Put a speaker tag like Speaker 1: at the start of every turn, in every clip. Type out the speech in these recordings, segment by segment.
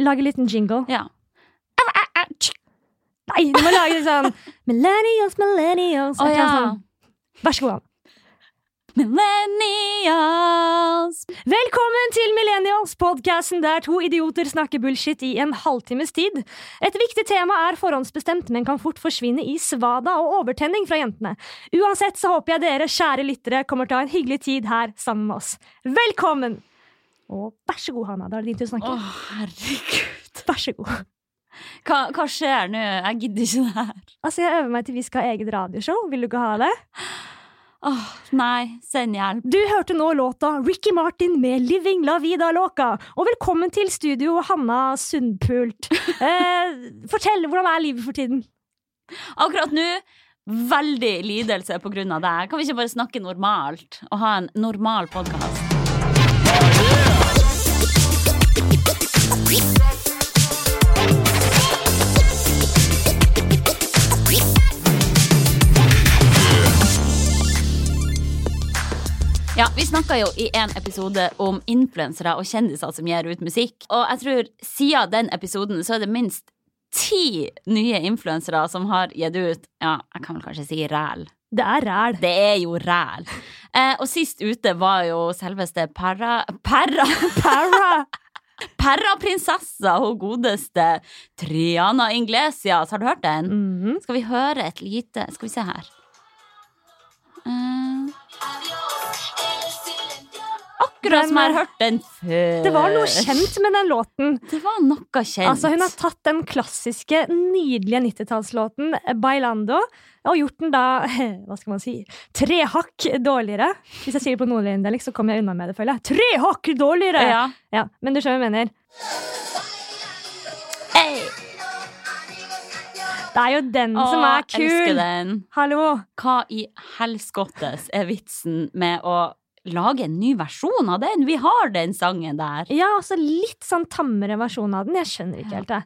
Speaker 1: Lag en liten jingle.
Speaker 2: Ja.
Speaker 1: Nei, du må lage litt sånn Millennials, millennials.
Speaker 2: Å
Speaker 1: et eller
Speaker 2: ja.
Speaker 1: annet sånt. Vær så god. Ann.
Speaker 2: Millennials!
Speaker 1: Velkommen til Millennials, podkasten der to idioter snakker bullshit i en halvtimes tid. Et viktig tema er forhåndsbestemt, men kan fort forsvinne i svada og overtenning fra jentene. Uansett så håper jeg dere, kjære lyttere, kommer til å ha en hyggelig tid her sammen med oss. Velkommen! Og vær så god, Hanna. Da er det din tur å
Speaker 2: Å,
Speaker 1: snakke.
Speaker 2: herregud.
Speaker 1: Vær så god.
Speaker 2: Hva, hva skjer nå? Jeg gidder ikke det her.
Speaker 1: Altså, jeg øver meg til vi skal ha eget radioshow. Vil du ikke ha det?
Speaker 2: Åh, nei. Send hjelp.
Speaker 1: Du hørte nå låta Ricky Martin med 'Living La Vida Loca'. Og velkommen til studio, Hanna Sundpult. Eh, fortell, hvordan er livet for tiden?
Speaker 2: Akkurat nå veldig lidelse på grunn av det. Kan vi ikke bare snakke normalt og ha en normal podkast? Ja, Vi snakka jo i en episode om influensere og kjendiser som gir ut musikk. Og jeg tror siden den episoden så er det minst ti nye influensere som har gitt ut Ja, jeg kan vel kanskje si ræl.
Speaker 1: Det er ræl.
Speaker 2: Det er jo ræl. Eh, og sist ute var jo selveste para... Para!
Speaker 1: Para!
Speaker 2: Paraprinsessa, hun godeste Triana Inglesias. Har du hørt den?
Speaker 1: Mhm.
Speaker 2: Skal vi høre et lite Skal vi se her. Eh, akkurat som jeg har hørt den før.
Speaker 1: Det var noe
Speaker 2: Eh.
Speaker 1: kjent med den låten.
Speaker 2: Det var noe kjent.
Speaker 1: Altså, hun har tatt den klassiske, nydelige 90-tallslåten Bailando og gjort den da hva skal man si, tre hakk dårligere. Hvis jeg sier det på nordlig dialekt, så kommer jeg unna med det, føler jeg. Tre hakk dårligere!
Speaker 2: ja.
Speaker 1: Ja, men du skjønner hva jeg mener.
Speaker 2: Hey,
Speaker 1: Det er jo den
Speaker 2: å,
Speaker 1: som er
Speaker 2: Elsker
Speaker 1: kul!
Speaker 2: den.
Speaker 1: Hallo!
Speaker 2: hva i helskottes er vitsen med å lage en ny versjon av den? Vi har den sangen der.
Speaker 1: Ja, altså litt sånn tammere versjon av den. Jeg skjønner ikke
Speaker 2: Ja.
Speaker 1: helt det.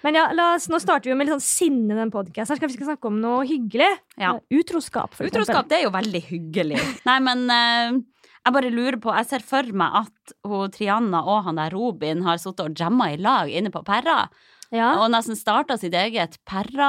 Speaker 1: Men ja, la oss, nå starter vi jo med litt sånn sinne i den podkasten. Vi skal snakke om noe hyggelig.
Speaker 2: Ja.
Speaker 1: Utroskap, for
Speaker 2: Utroskap, det er jo veldig hyggelig. Nei, men eh, jeg bare lurer på Jeg ser for meg at hun, Triana og han der Robin har sittet og jamma i lag inne på Perra.
Speaker 1: eksempel. Ja.
Speaker 2: Og nesten starta sitt eget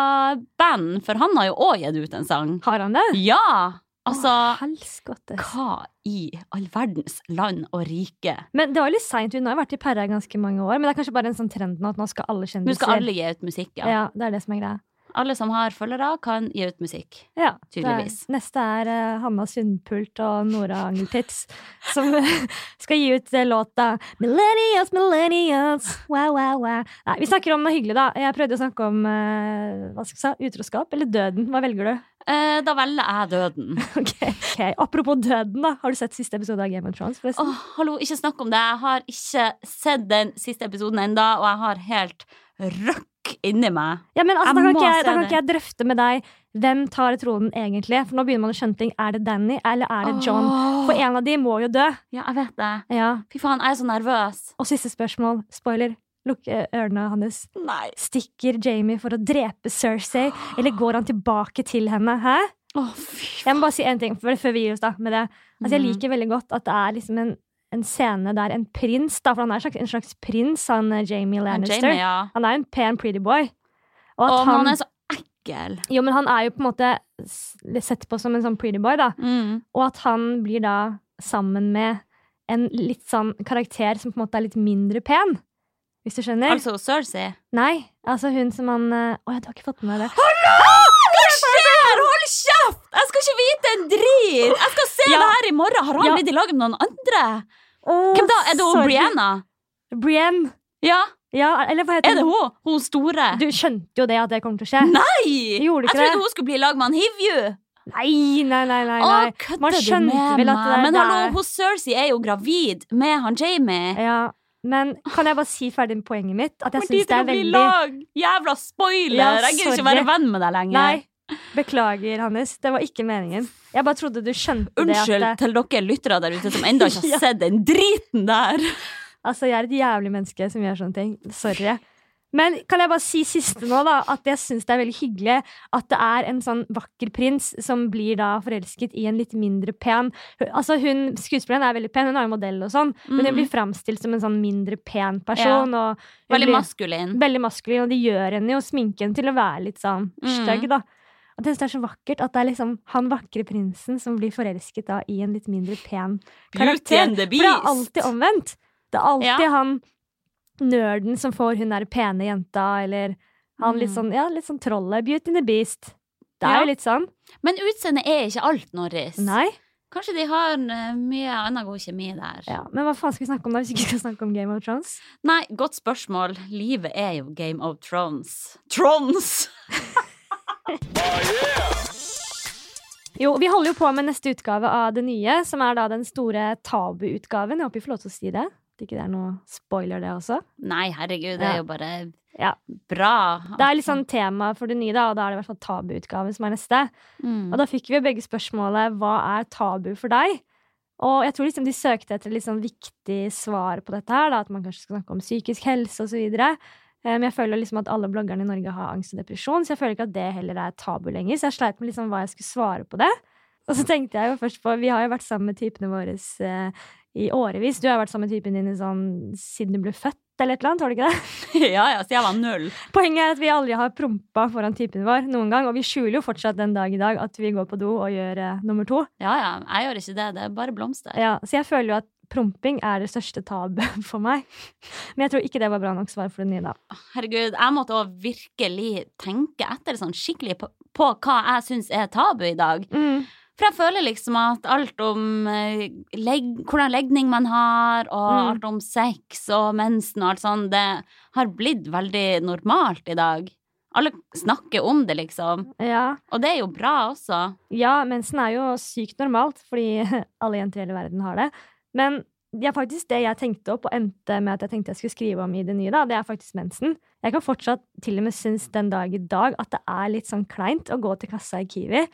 Speaker 2: Perra-band, for han har jo òg gitt ut en sang.
Speaker 1: Har han det?
Speaker 2: Ja! Altså
Speaker 1: Å, helskotte.
Speaker 2: Hva i all verdens land og rike?
Speaker 1: Men det var litt seint. Hun har jo vært i Perra i ganske mange år. Men det er kanskje bare en sånn trend nå at nå skal alle
Speaker 2: Nå
Speaker 1: kjendiser
Speaker 2: skal alle gi ut musikk,
Speaker 1: ja.
Speaker 2: ja.
Speaker 1: det er det som er greia.
Speaker 2: Alle som har følgere, kan gi ut musikk.
Speaker 1: Ja, det er-
Speaker 2: Tydeligvis.
Speaker 1: Neste er eh, Hanna Sundpult og Nora Angeltitz som eh, skal gi ut eh, låta 'Millennials, Millennials'. Wow, wow, wow. Nei, vi snakker om noe hyggelig, da. Jeg prøvde å snakke om eh, hva skal jeg si, utroskap eller døden. Hva velger du?
Speaker 2: Eh, da velger jeg døden.
Speaker 1: Ok, ok. Apropos døden, da. Har du sett siste episode av Game of Thrones?
Speaker 2: Åh,
Speaker 1: forresten?
Speaker 2: hallo, ikke snakk om det. Jeg har ikke sett den siste episoden ennå, og jeg har helt røkk inni meg.
Speaker 1: ja, men altså,
Speaker 2: jeg
Speaker 1: da kan,
Speaker 2: må
Speaker 1: ikke jeg,
Speaker 2: se
Speaker 1: da kan
Speaker 2: det.
Speaker 1: ikke jeg drøfte med deg hvem tar tronen egentlig. For nå begynner man å skjønne ting. Er det Danny, eller er det John?
Speaker 2: Åh.
Speaker 1: For en av de må jo dø.
Speaker 2: Ja, jeg vet det.
Speaker 1: Ja.
Speaker 2: Fy faen, jeg er så nervøs.
Speaker 1: Og siste spørsmål. Spoiler. Lukk eh, ørene hans.
Speaker 2: Nei.
Speaker 1: Stikker Jamie for å drepe Cersei, eller går han tilbake til henne? Hæ?
Speaker 2: Åh, fy
Speaker 1: Jeg må bare si en ting før før vi gir oss da, med det. Altså, jeg
Speaker 2: Mhm.
Speaker 1: liker veldig godt at det er liksom en, en scene der en prins da, For han er en slags, en slags prins, han eh, Jamie
Speaker 2: faen.
Speaker 1: Lannister.
Speaker 2: Jamie, ja.
Speaker 1: Han er jo en pen pretty boy. Og at
Speaker 2: Åh, men
Speaker 1: han,
Speaker 2: han er så ekkel.
Speaker 1: Jo, men han er jo på en måte s- sett på som en sånn pretty boy, da.
Speaker 2: Mm.
Speaker 1: Og at han blir da sammen med en litt sånn karakter som på en måte er litt mindre pen. Hvis du skjønner?
Speaker 2: Altså Cersei.
Speaker 1: Nei, altså hun som han eh, Å, ja, du har ikke fått med deg det?
Speaker 2: Hallo! Hva skjer? Hold kjeft! Jeg skal ikke vite en drit! Jeg skal se
Speaker 1: Ja.
Speaker 2: det her i morgen. Har han
Speaker 1: Ja.
Speaker 2: blitt i lag med noen andre?
Speaker 1: Åh,
Speaker 2: Hvem da? Er det hun
Speaker 1: sorry.
Speaker 2: Brianna?
Speaker 1: Brienne.
Speaker 2: Ja,
Speaker 1: Ja, eller hva heter
Speaker 2: er det hun? Hun store?
Speaker 1: Du skjønte jo det at det kommer til å skje.
Speaker 2: Nei!
Speaker 1: Jeg gjorde
Speaker 2: Jeg
Speaker 1: ikke
Speaker 2: trodde
Speaker 1: det.
Speaker 2: hun skulle bli i lag med han Hivju.
Speaker 1: Nei, nei, nei, nei.
Speaker 2: Å,
Speaker 1: nei.
Speaker 2: kødder
Speaker 1: Man
Speaker 2: du
Speaker 1: skjønte
Speaker 2: med
Speaker 1: vel at det
Speaker 2: meg?
Speaker 1: der-
Speaker 2: Men
Speaker 1: det
Speaker 2: hallo,
Speaker 1: er-
Speaker 2: hun Cersei er jo gravid med han Jamie.
Speaker 1: Ja, men kan jeg bare si ferdig med poenget mitt? At jeg
Speaker 2: Kommer de
Speaker 1: syns det
Speaker 2: til å
Speaker 1: er
Speaker 2: bli i
Speaker 1: veldig
Speaker 2: lag? Jævla spoiler!
Speaker 1: Ja,
Speaker 2: jeg gidder ikke
Speaker 1: sorry.
Speaker 2: være venn med deg lenger.
Speaker 1: Nei. Beklager, Hannes. Det var ikke meningen. Jeg bare trodde du skjønte
Speaker 2: Unnskyld
Speaker 1: det. At, eh,
Speaker 2: til dere lyttere der ute som ennå ikke
Speaker 1: Ja.
Speaker 2: har sett den driten der.
Speaker 1: eh, altså, jeg er et jævlig menneske som gjør sånne ting. Sorry. Men kan jeg bare si siste nå, da, at jeg syns det er veldig hyggelig at det er en sånn vakker prins som blir da forelsket i en litt mindre pen Altså hun, Skuespilleren er veldig pen, hun er jo modell og sånn, men hun
Speaker 2: Mm.
Speaker 1: blir framstilt som en sånn mindre pen person. Og hun
Speaker 2: Veldig Mm.
Speaker 1: blir-
Speaker 2: maskulin.
Speaker 1: veldig maskulin, og de gjør henne jo sminken til å være litt sånn
Speaker 2: Mm.
Speaker 1: stygg, da. At jeg synes det er så vakkert at det er liksom han vakre prinsen som blir forelsket da i en litt mindre pen
Speaker 2: Beauty
Speaker 1: karakter.
Speaker 2: and the
Speaker 1: For det er
Speaker 2: Beast.
Speaker 1: alltid omvendt. Det er alltid
Speaker 2: Ja.
Speaker 1: han nerden som får hun der pene jenta, eller han litt
Speaker 2: Mm.
Speaker 1: sånn, ja, litt sånn trollet. Beauty and the Beast. Det er
Speaker 2: Ja.
Speaker 1: jo litt sånn.
Speaker 2: Men utseendet er ikke alt, Norris.
Speaker 1: Nei.
Speaker 2: Kanskje de har eh, mye annen god kjemi der.
Speaker 1: Ja. Men hva faen skal vi snakke om da, hvis vi ikke skal snakke om Game of Thrones?
Speaker 2: Nei, godt spørsmål. Livet er jo Game of Thrones. Trons!
Speaker 1: Jo, vi holder jo på med neste utgave av det nye, som er da den store tabu-utgaven. Jeg håper vi får lov til å si det. At ikke det er noe spoiler, det også.
Speaker 2: Nei, herregud, det
Speaker 1: Ja.
Speaker 2: er jo bare
Speaker 1: Ja.
Speaker 2: bra.
Speaker 1: Det er litt sånn tema for det nye, da, og da er det i hvert fall tabu-utgaven som er neste.
Speaker 2: Mm.
Speaker 1: Og da fikk vi jo begge spørsmålet 'Hva er tabu for deg?' Og jeg tror liksom de søkte etter litt sånn viktig svar på dette her, da, at man kanskje skal snakke om psykisk helse osv. Men jeg føler liksom at alle bloggerne i Norge har angst og depresjon, så jeg føler ikke at det heller er tabu lenger. Så jeg sleit med liksom hva jeg skulle svare på det. Og så tenkte jeg jo først på Vi har jo vært sammen med typene våre eh, i årevis. Du har jo vært sammen med typen din i sånn siden du ble født, eller et eller annet, har du ikke det?
Speaker 2: ja, ja, så jeg var null.
Speaker 1: Poenget er at vi aldri har prompa foran typen vår noen gang, og vi skjuler jo fortsatt den dag i dag at vi går på do og gjør eh, nummer to.
Speaker 2: Ja, ja, jeg gjør ikke det. Det er bare blomster.
Speaker 1: Ja, så jeg føler jo at promping er det største tabet for meg. Men jeg tror ikke det var bra nok svar for det nye, da.
Speaker 2: Herregud, jeg måtte også virkelig tenke etter sånn skikkelig på, på hva jeg syns er tabu i dag.
Speaker 1: Mm.
Speaker 2: For jeg føler liksom at alt om eh, legg, hvordan legning man har, og
Speaker 1: Mm.
Speaker 2: alt om sex og mensen og alt sånt, det har blitt veldig normalt i dag. Alle snakker om det, liksom.
Speaker 1: Ja.
Speaker 2: Og det er jo bra også.
Speaker 1: ja, mensen er jo sykt normalt, fordi alle jenter i hele verden har det. Men det er faktisk det jeg tenkte opp og endte med at jeg tenkte jeg skulle skrive om i det nye, da, det er faktisk mensen. Jeg kan fortsatt til og med synes den dag i dag at det er litt sånn kleint å gå til kassa i Kiwi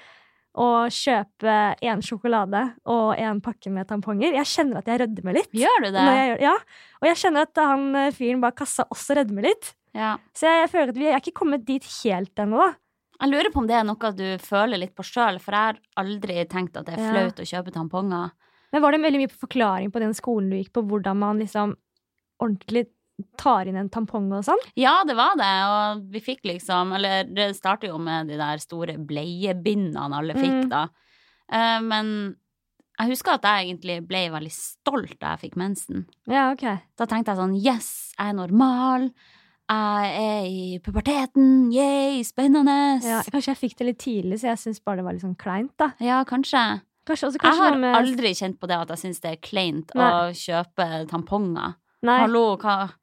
Speaker 1: og kjøpe én sjokolade og en pakke med tamponger. Jeg kjenner at jeg rødmer litt.
Speaker 2: Gjør du det?
Speaker 1: Når jeg gjør, ja. Og jeg kjenner at han eh, fyren bak kassa også rødmer litt.
Speaker 2: Ja.
Speaker 1: Så jeg føler at vi er ikke kommet dit helt ennå, da.
Speaker 2: Jeg lurer på om det er noe du føler litt på sjøl, for jeg har aldri tenkt at det er
Speaker 1: Ja.
Speaker 2: flaut å kjøpe tamponger.
Speaker 1: Men var det veldig mye forklaring på den skolen du gikk på, hvordan man liksom ordentlig tar inn en tampong og sånn?
Speaker 2: Ja, det var det, og vi fikk liksom Eller det startet jo med de der store bleiebindene alle fikk,
Speaker 1: Mm.
Speaker 2: da. Eh, men jeg husker at jeg egentlig ble veldig stolt da jeg fikk mensen.
Speaker 1: Ja, ok.
Speaker 2: Da tenkte jeg sånn Yes, jeg er normal. Jeg er i puberteten. Yay, spennende.
Speaker 1: Ja, kanskje jeg fikk det litt tidlig, så jeg syns bare det var litt sånn kleint, da.
Speaker 2: Ja, kanskje.
Speaker 1: Kanskje også
Speaker 2: Jeg
Speaker 1: kanskje
Speaker 2: har
Speaker 1: noe med
Speaker 2: aldri kjent på det at jeg syns det er kleint
Speaker 1: Nei.
Speaker 2: å kjøpe tamponger.
Speaker 1: Nei,
Speaker 2: Hallo, hva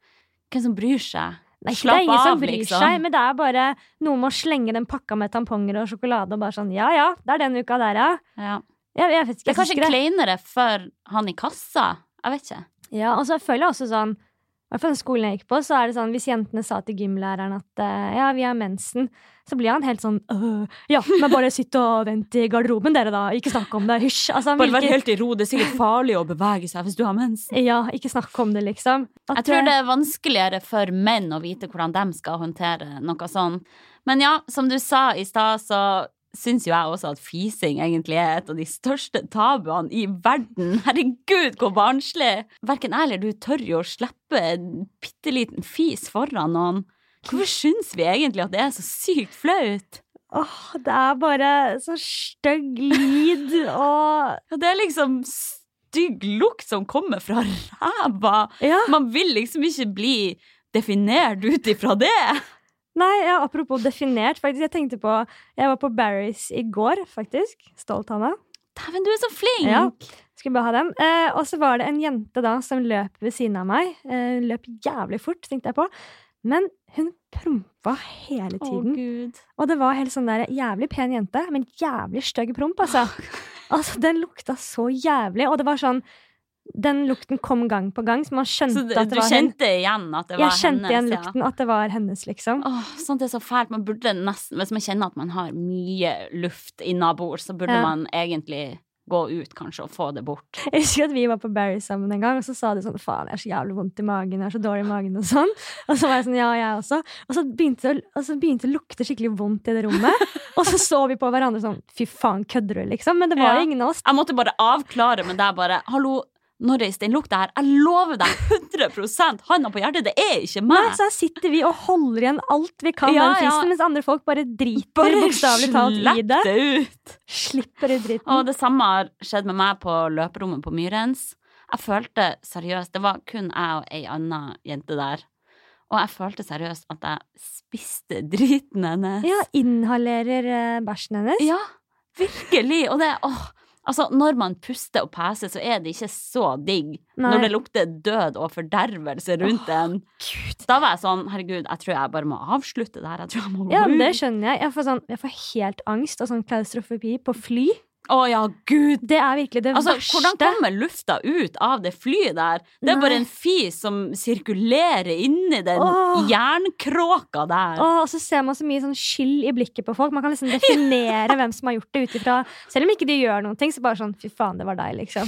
Speaker 2: Hvem som bryr seg?
Speaker 1: Nei, det
Speaker 2: slapp
Speaker 1: er ingen som
Speaker 2: av,
Speaker 1: bryr
Speaker 2: liksom.
Speaker 1: seg, men det er bare noe med å slenge den pakka med tamponger og sjokolade og bare sånn ja ja, det er den uka der, ja.
Speaker 2: Ja.
Speaker 1: Jeg, jeg vet ikke,
Speaker 2: Det
Speaker 1: jeg
Speaker 2: er kanskje
Speaker 1: synes ikke det.
Speaker 2: kleinere for han i kassa. Jeg vet ikke.
Speaker 1: Ja, og så føler jeg også sånn i hvert fall den skolen jeg gikk på, så er det sånn hvis jentene sa til gymlæreren at eh, ja, vi har mensen, så blir han helt sånn øh, ja, men bare sitt og vent i garderoben, dere, da. Ikke snakk om det. Hysj. Altså, han
Speaker 2: Bare vær
Speaker 1: virker
Speaker 2: helt i ro, det er sikkert farlig å bevege seg hvis du har mensen.
Speaker 1: Ja, ikke snakk om det, liksom. At,
Speaker 2: Jeg tror det
Speaker 1: eh,
Speaker 2: er vanskeligere for menn å vite hvordan de skal håndtere noe sånn. Men ja, som du sa i stad, så syns jo jeg også at fising egentlig er et av de største tabuene i verden. Herregud, hvor barnslig! Verken jeg eller du tør jo å slippe en bitte liten fis foran noen. Hvorfor syns vi egentlig at det er så sykt flaut?
Speaker 1: eh, Åh, det er bare så stygg lyd og
Speaker 2: Ja, det er liksom stygg lukt som kommer fra ræva.
Speaker 1: Ja.
Speaker 2: Man vil liksom ikke bli definert ut ifra det.
Speaker 1: Nei, ja, apropos definert, faktisk. Jeg tenkte på Jeg var på Barry's i går, faktisk. Stolt, Hanna.
Speaker 2: Dæven, du er så flink!
Speaker 1: Ja. Skulle bare ha den. Eh, og så var det en jente da som løp ved siden av meg. Eh, hun løp jævlig fort, tenkte jeg på. Men hun prompa hele
Speaker 2: Å,
Speaker 1: tiden.
Speaker 2: gud.
Speaker 1: og det var helt sånn der jævlig pen jente, men jævlig stygg promp, altså.
Speaker 2: Ah,
Speaker 1: altså. Den lukta så jævlig, og det var sånn Den lukten kom gang på gang, så man skjønte
Speaker 2: Så du,
Speaker 1: at det
Speaker 2: du
Speaker 1: var hun.
Speaker 2: kjente igjen at det var
Speaker 1: jeg kjente igjen
Speaker 2: hennes?
Speaker 1: lukten, at det var hennes, liksom.
Speaker 2: Ja. Åh, sånt er så fælt. Man burde nesten, Hvis man kjenner at man har mye luft innabords, så burde
Speaker 1: Ja.
Speaker 2: man egentlig gå ut kanskje og få det bort.
Speaker 1: Jeg husker at vi var på Barry sammen en gang, og så sa du sånn faen, jeg har så jævlig vondt i magen, jeg har så dårlig i magen, og sånn. Og så var jeg sånn ja, jeg også. Og så begynte det, å- og så begynte det å lukte skikkelig vondt i det rommet. Og så så vi på hverandre sånn fy faen, kødder du, liksom? Men det var
Speaker 2: Ja.
Speaker 1: jo ingen av oss.
Speaker 2: Jeg måtte bare avklare med deg bare Hallo, Norris, den lukta her. Jeg lover deg 100 Handa på hjertet, det er ikke
Speaker 1: Nei,
Speaker 2: meg.
Speaker 1: så her sitter vi og holder igjen alt vi kan av
Speaker 2: Ja,
Speaker 1: den
Speaker 2: ja.
Speaker 1: fristen, mens andre folk bare driter bokstavelig talt i det.
Speaker 2: det ut.
Speaker 1: Slipper ut dritten.
Speaker 2: Og det samme har skjedd med meg på løperommet på Myrens. Jeg følte seriøst Det var kun jeg og ei anna jente der. Og jeg følte seriøst at jeg spiste driten hennes.
Speaker 1: Ja, inhalerer eh, bæsjen hennes.
Speaker 2: Ja, virkelig. Og det åh. Altså, når man puster og peser, så er det ikke så digg.
Speaker 1: Nei.
Speaker 2: Når det lukter død og fordervelse rundt en. Da var jeg sånn, herregud, jeg tror jeg bare må avslutte det her. Jeg tror jeg må gå
Speaker 1: Ja, men det
Speaker 2: ut.
Speaker 1: skjønner jeg. Jeg får, sånn, jeg får helt angst og sånn klaustrofobi på fly.
Speaker 2: Å ja, gud.
Speaker 1: Det er virkelig det
Speaker 2: Altså,
Speaker 1: verste.
Speaker 2: Hvordan kommer lufta ut av det flyet der? Det er
Speaker 1: Nei.
Speaker 2: bare en fis som sirkulerer inni den
Speaker 1: Åh.
Speaker 2: jernkråka der.
Speaker 1: Åh, og så ser man så mye sånn skyld i blikket på folk. Man kan liksom definere hvem som har gjort det ut ifra Selv om ikke de gjør noen ting, så bare sånn fy faen, det var deg, liksom.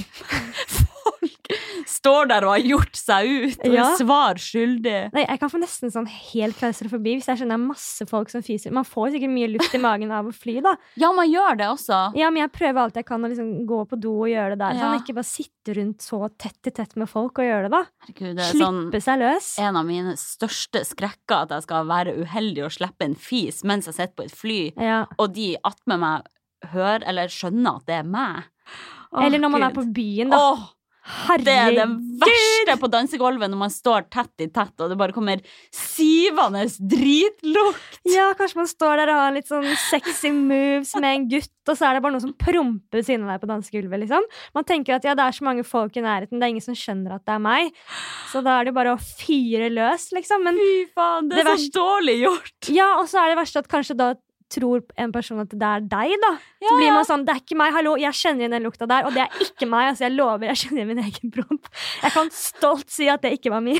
Speaker 2: Folk står der og har gjort seg ut og
Speaker 1: Ja.
Speaker 2: er svar skyldig.
Speaker 1: Nei, Jeg kan få nesten sånn helt klaustrofobi hvis jeg skjønner masse folk som fiser. Man får jo sikkert mye luft i magen av å fly, da.
Speaker 2: Ja, man gjør det også.
Speaker 1: Ja, men jeg prøver alt jeg kan å liksom gå på do og gjøre det der.
Speaker 2: Ja.
Speaker 1: Sånn, ikke bare sitte rundt så tett i tett med folk og gjøre det, da.
Speaker 2: Herregud, det er sånn
Speaker 1: Slippe seg løs.
Speaker 2: en av mine største skrekker at jeg skal være uheldig og slippe en fis mens jeg sitter på et fly,
Speaker 1: Ja.
Speaker 2: og de attmed meg hører eller skjønner at det er meg. Åh,
Speaker 1: Eller når man er
Speaker 2: Gud.
Speaker 1: på byen, da.
Speaker 2: Åh, Det er det
Speaker 1: Herregud.
Speaker 2: verste på dansegulvet når man står tett i tett, og det bare kommer sivende dritlukt.
Speaker 1: Ja, kanskje man står der og har litt sånn sexy moves med en gutt, og så er det bare noe som promper ved siden av deg på dansegulvet, liksom. Man tenker at ja, det er så mange folk i nærheten, det er ingen som skjønner at det er meg. Så da er det jo bare å fyre løs, liksom. Men
Speaker 2: Fy faen, det
Speaker 1: Det
Speaker 2: er så
Speaker 1: verste-
Speaker 2: dårlig gjort.
Speaker 1: ja, og så er det verste at kanskje da tror en person at det er deg, da.
Speaker 2: Ja,
Speaker 1: Så blir man sånn, det er ikke meg, hallo, jeg kjenner igjen den lukta der, og det er ikke meg, altså jeg lover, jeg kjenner igjen min egen promp. Jeg kan stolt si at det ikke var min.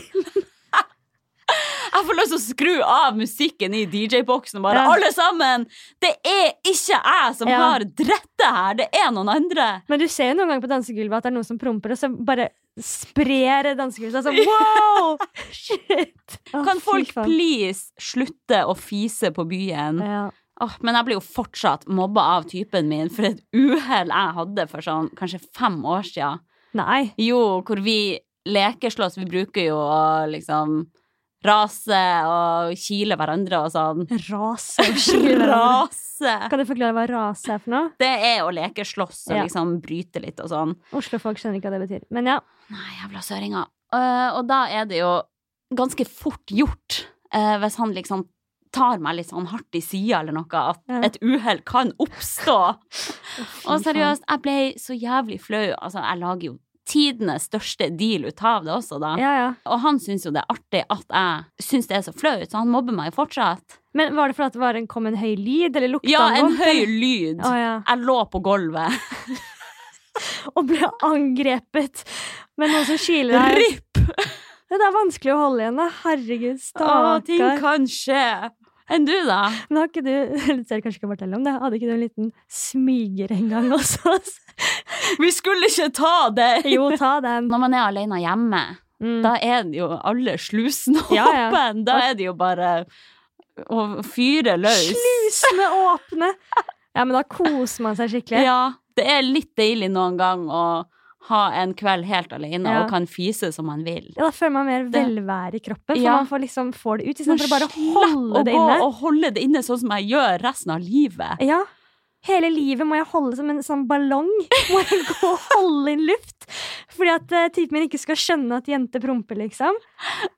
Speaker 2: Jeg får lyst til å skru av musikken i DJ-boksen og bare
Speaker 1: Ja.
Speaker 2: Alle sammen! Det er ikke jeg som
Speaker 1: Ja.
Speaker 2: har drettet her, det er noen andre.
Speaker 1: Men du ser jo noen ganger på dansegulvet at det er noen som promper, og så bare sprer dansegulvet seg sånn wow! Shit! Å,
Speaker 2: Kan
Speaker 1: fy
Speaker 2: folk
Speaker 1: faen.
Speaker 2: please slutte å fise på byen?
Speaker 1: ja.
Speaker 2: Åh, men jeg blir jo fortsatt mobba av typen min for et uhell jeg hadde for sånn kanskje fem år siden.
Speaker 1: Nei.
Speaker 2: Jo, hvor vi lekeslåss. Vi bruker jo å liksom rase og kile hverandre og sånn.
Speaker 1: Rase.
Speaker 2: Rase!
Speaker 1: Kan du forklare hva rase er for noe?
Speaker 2: Det er å lekeslåss og
Speaker 1: Ja.
Speaker 2: liksom bryte litt og sånn.
Speaker 1: Oslo-folk skjønner ikke hva det betyr. Men ja.
Speaker 2: Nei, jævla søringer. Eh, og da er det jo ganske fort gjort, eh, hvis han liksom tar meg litt sånn hardt i sida eller noe, at
Speaker 1: Ja.
Speaker 2: et uhell kan oppstå.
Speaker 1: Å, fy
Speaker 2: Og seriøst, jeg ble så jævlig flau. Altså, jeg lager jo tidenes største deal ut av det også, da.
Speaker 1: faen. Ja, ja.
Speaker 2: Og han syns jo det er artig at jeg syns det er så flaut, så han mobber meg jo fortsatt.
Speaker 1: Men var det fordi det var en, kom en høy lyd, eller lukta
Speaker 2: Ja,
Speaker 1: han
Speaker 2: en
Speaker 1: vondt,
Speaker 2: høy
Speaker 1: eller?
Speaker 2: lyd.
Speaker 1: Å, ja.
Speaker 2: Jeg lå på gulvet.
Speaker 1: Og ble angrepet med noen som kiler deg.
Speaker 2: Ripp!
Speaker 1: Det er vanskelig å holde igjen, da. Herregud,
Speaker 2: Å, ting
Speaker 1: stakkar.
Speaker 2: kan skje. Enn du, da?
Speaker 1: Men har ikke du eller Dere kanskje ikke fortelle om det? Hadde ikke du en liten smyger en gang også?
Speaker 2: Vi skulle ikke ta det!
Speaker 1: Jo, ta den.
Speaker 2: Når man er alene hjemme,
Speaker 1: Mm.
Speaker 2: da er det jo alle slusene åpen.
Speaker 1: Ja, ja.
Speaker 2: Da er det jo bare å fyre løs.
Speaker 1: Slusene åpne! Ja, men da koser man seg skikkelig.
Speaker 2: Ja, det er litt deilig noen gang å ha en kveld helt alene
Speaker 1: Ja.
Speaker 2: og kan fise som man vil.
Speaker 1: Ja, da føler man mer velvære i kroppen, for
Speaker 2: Ja.
Speaker 1: man får liksom får det ut
Speaker 2: Men
Speaker 1: istedenfor å bare
Speaker 2: slapp
Speaker 1: holde det
Speaker 2: Å gå
Speaker 1: inne.
Speaker 2: og holde det inne sånn som jeg gjør resten av livet.
Speaker 1: Ja. Hele livet må jeg holde som en sånn ballong. Må jeg gå og holde inn luft. Fordi at eh, typen min ikke skal skjønne at jenter promper, liksom.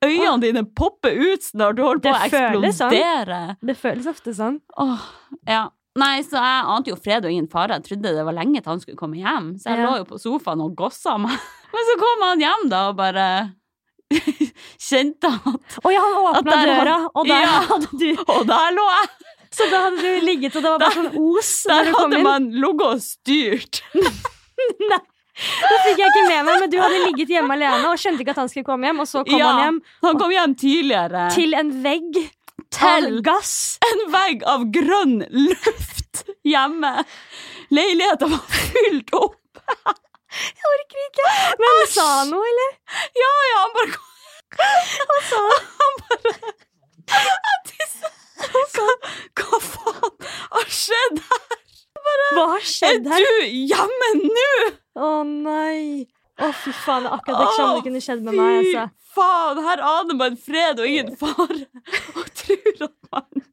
Speaker 2: Øynene dine popper ut når du holder på å
Speaker 1: Det føles sånn.
Speaker 2: eksplodere.
Speaker 1: Det føles ofte sånn.
Speaker 2: Åh, ja. Nei, så jeg ante jo fred og ingen fare. Jeg trodde det var lenge til han skulle komme hjem. Så jeg
Speaker 1: Ja.
Speaker 2: lå jo på sofaen og gossa meg. Men så kom han hjem, da, og bare kjente at
Speaker 1: Å ja, han åpna
Speaker 2: der
Speaker 1: døra,
Speaker 2: had-
Speaker 1: og der
Speaker 2: Ja.
Speaker 1: hadde du
Speaker 2: Og der lå jeg!
Speaker 1: Så da hadde du ligget, og det var bare sånn os
Speaker 2: Der
Speaker 1: når du kom
Speaker 2: hadde
Speaker 1: inn.
Speaker 2: man ligget og styrt.
Speaker 1: Nei. Det fikk jeg ikke med meg, men du hadde ligget hjemme alene og skjønte ikke at han skulle komme hjem, og så kom
Speaker 2: Ja,
Speaker 1: han hjem
Speaker 2: Han kom hjem tidligere.
Speaker 1: til en vegg
Speaker 2: Til
Speaker 1: av gass.
Speaker 2: en vegg av grønn luft hjemme. Leiligheten var fylt opp
Speaker 1: Jeg orker ikke. Men han sa han noe, eller?
Speaker 2: Ja, ja, han bare
Speaker 1: Hva sa han?
Speaker 2: Han bare Jeg tisser. Hva, hva faen har skjedd her?
Speaker 1: Hva har
Speaker 2: Er
Speaker 1: skjedd her?
Speaker 2: du hjemme nå?
Speaker 1: Å nei. Å, fy faen. Det er akkurat det samme
Speaker 2: Å,
Speaker 1: kunne skjedd med meg.
Speaker 2: Fy
Speaker 1: altså.
Speaker 2: faen, her aner man fred og ingen fare. Og tror at man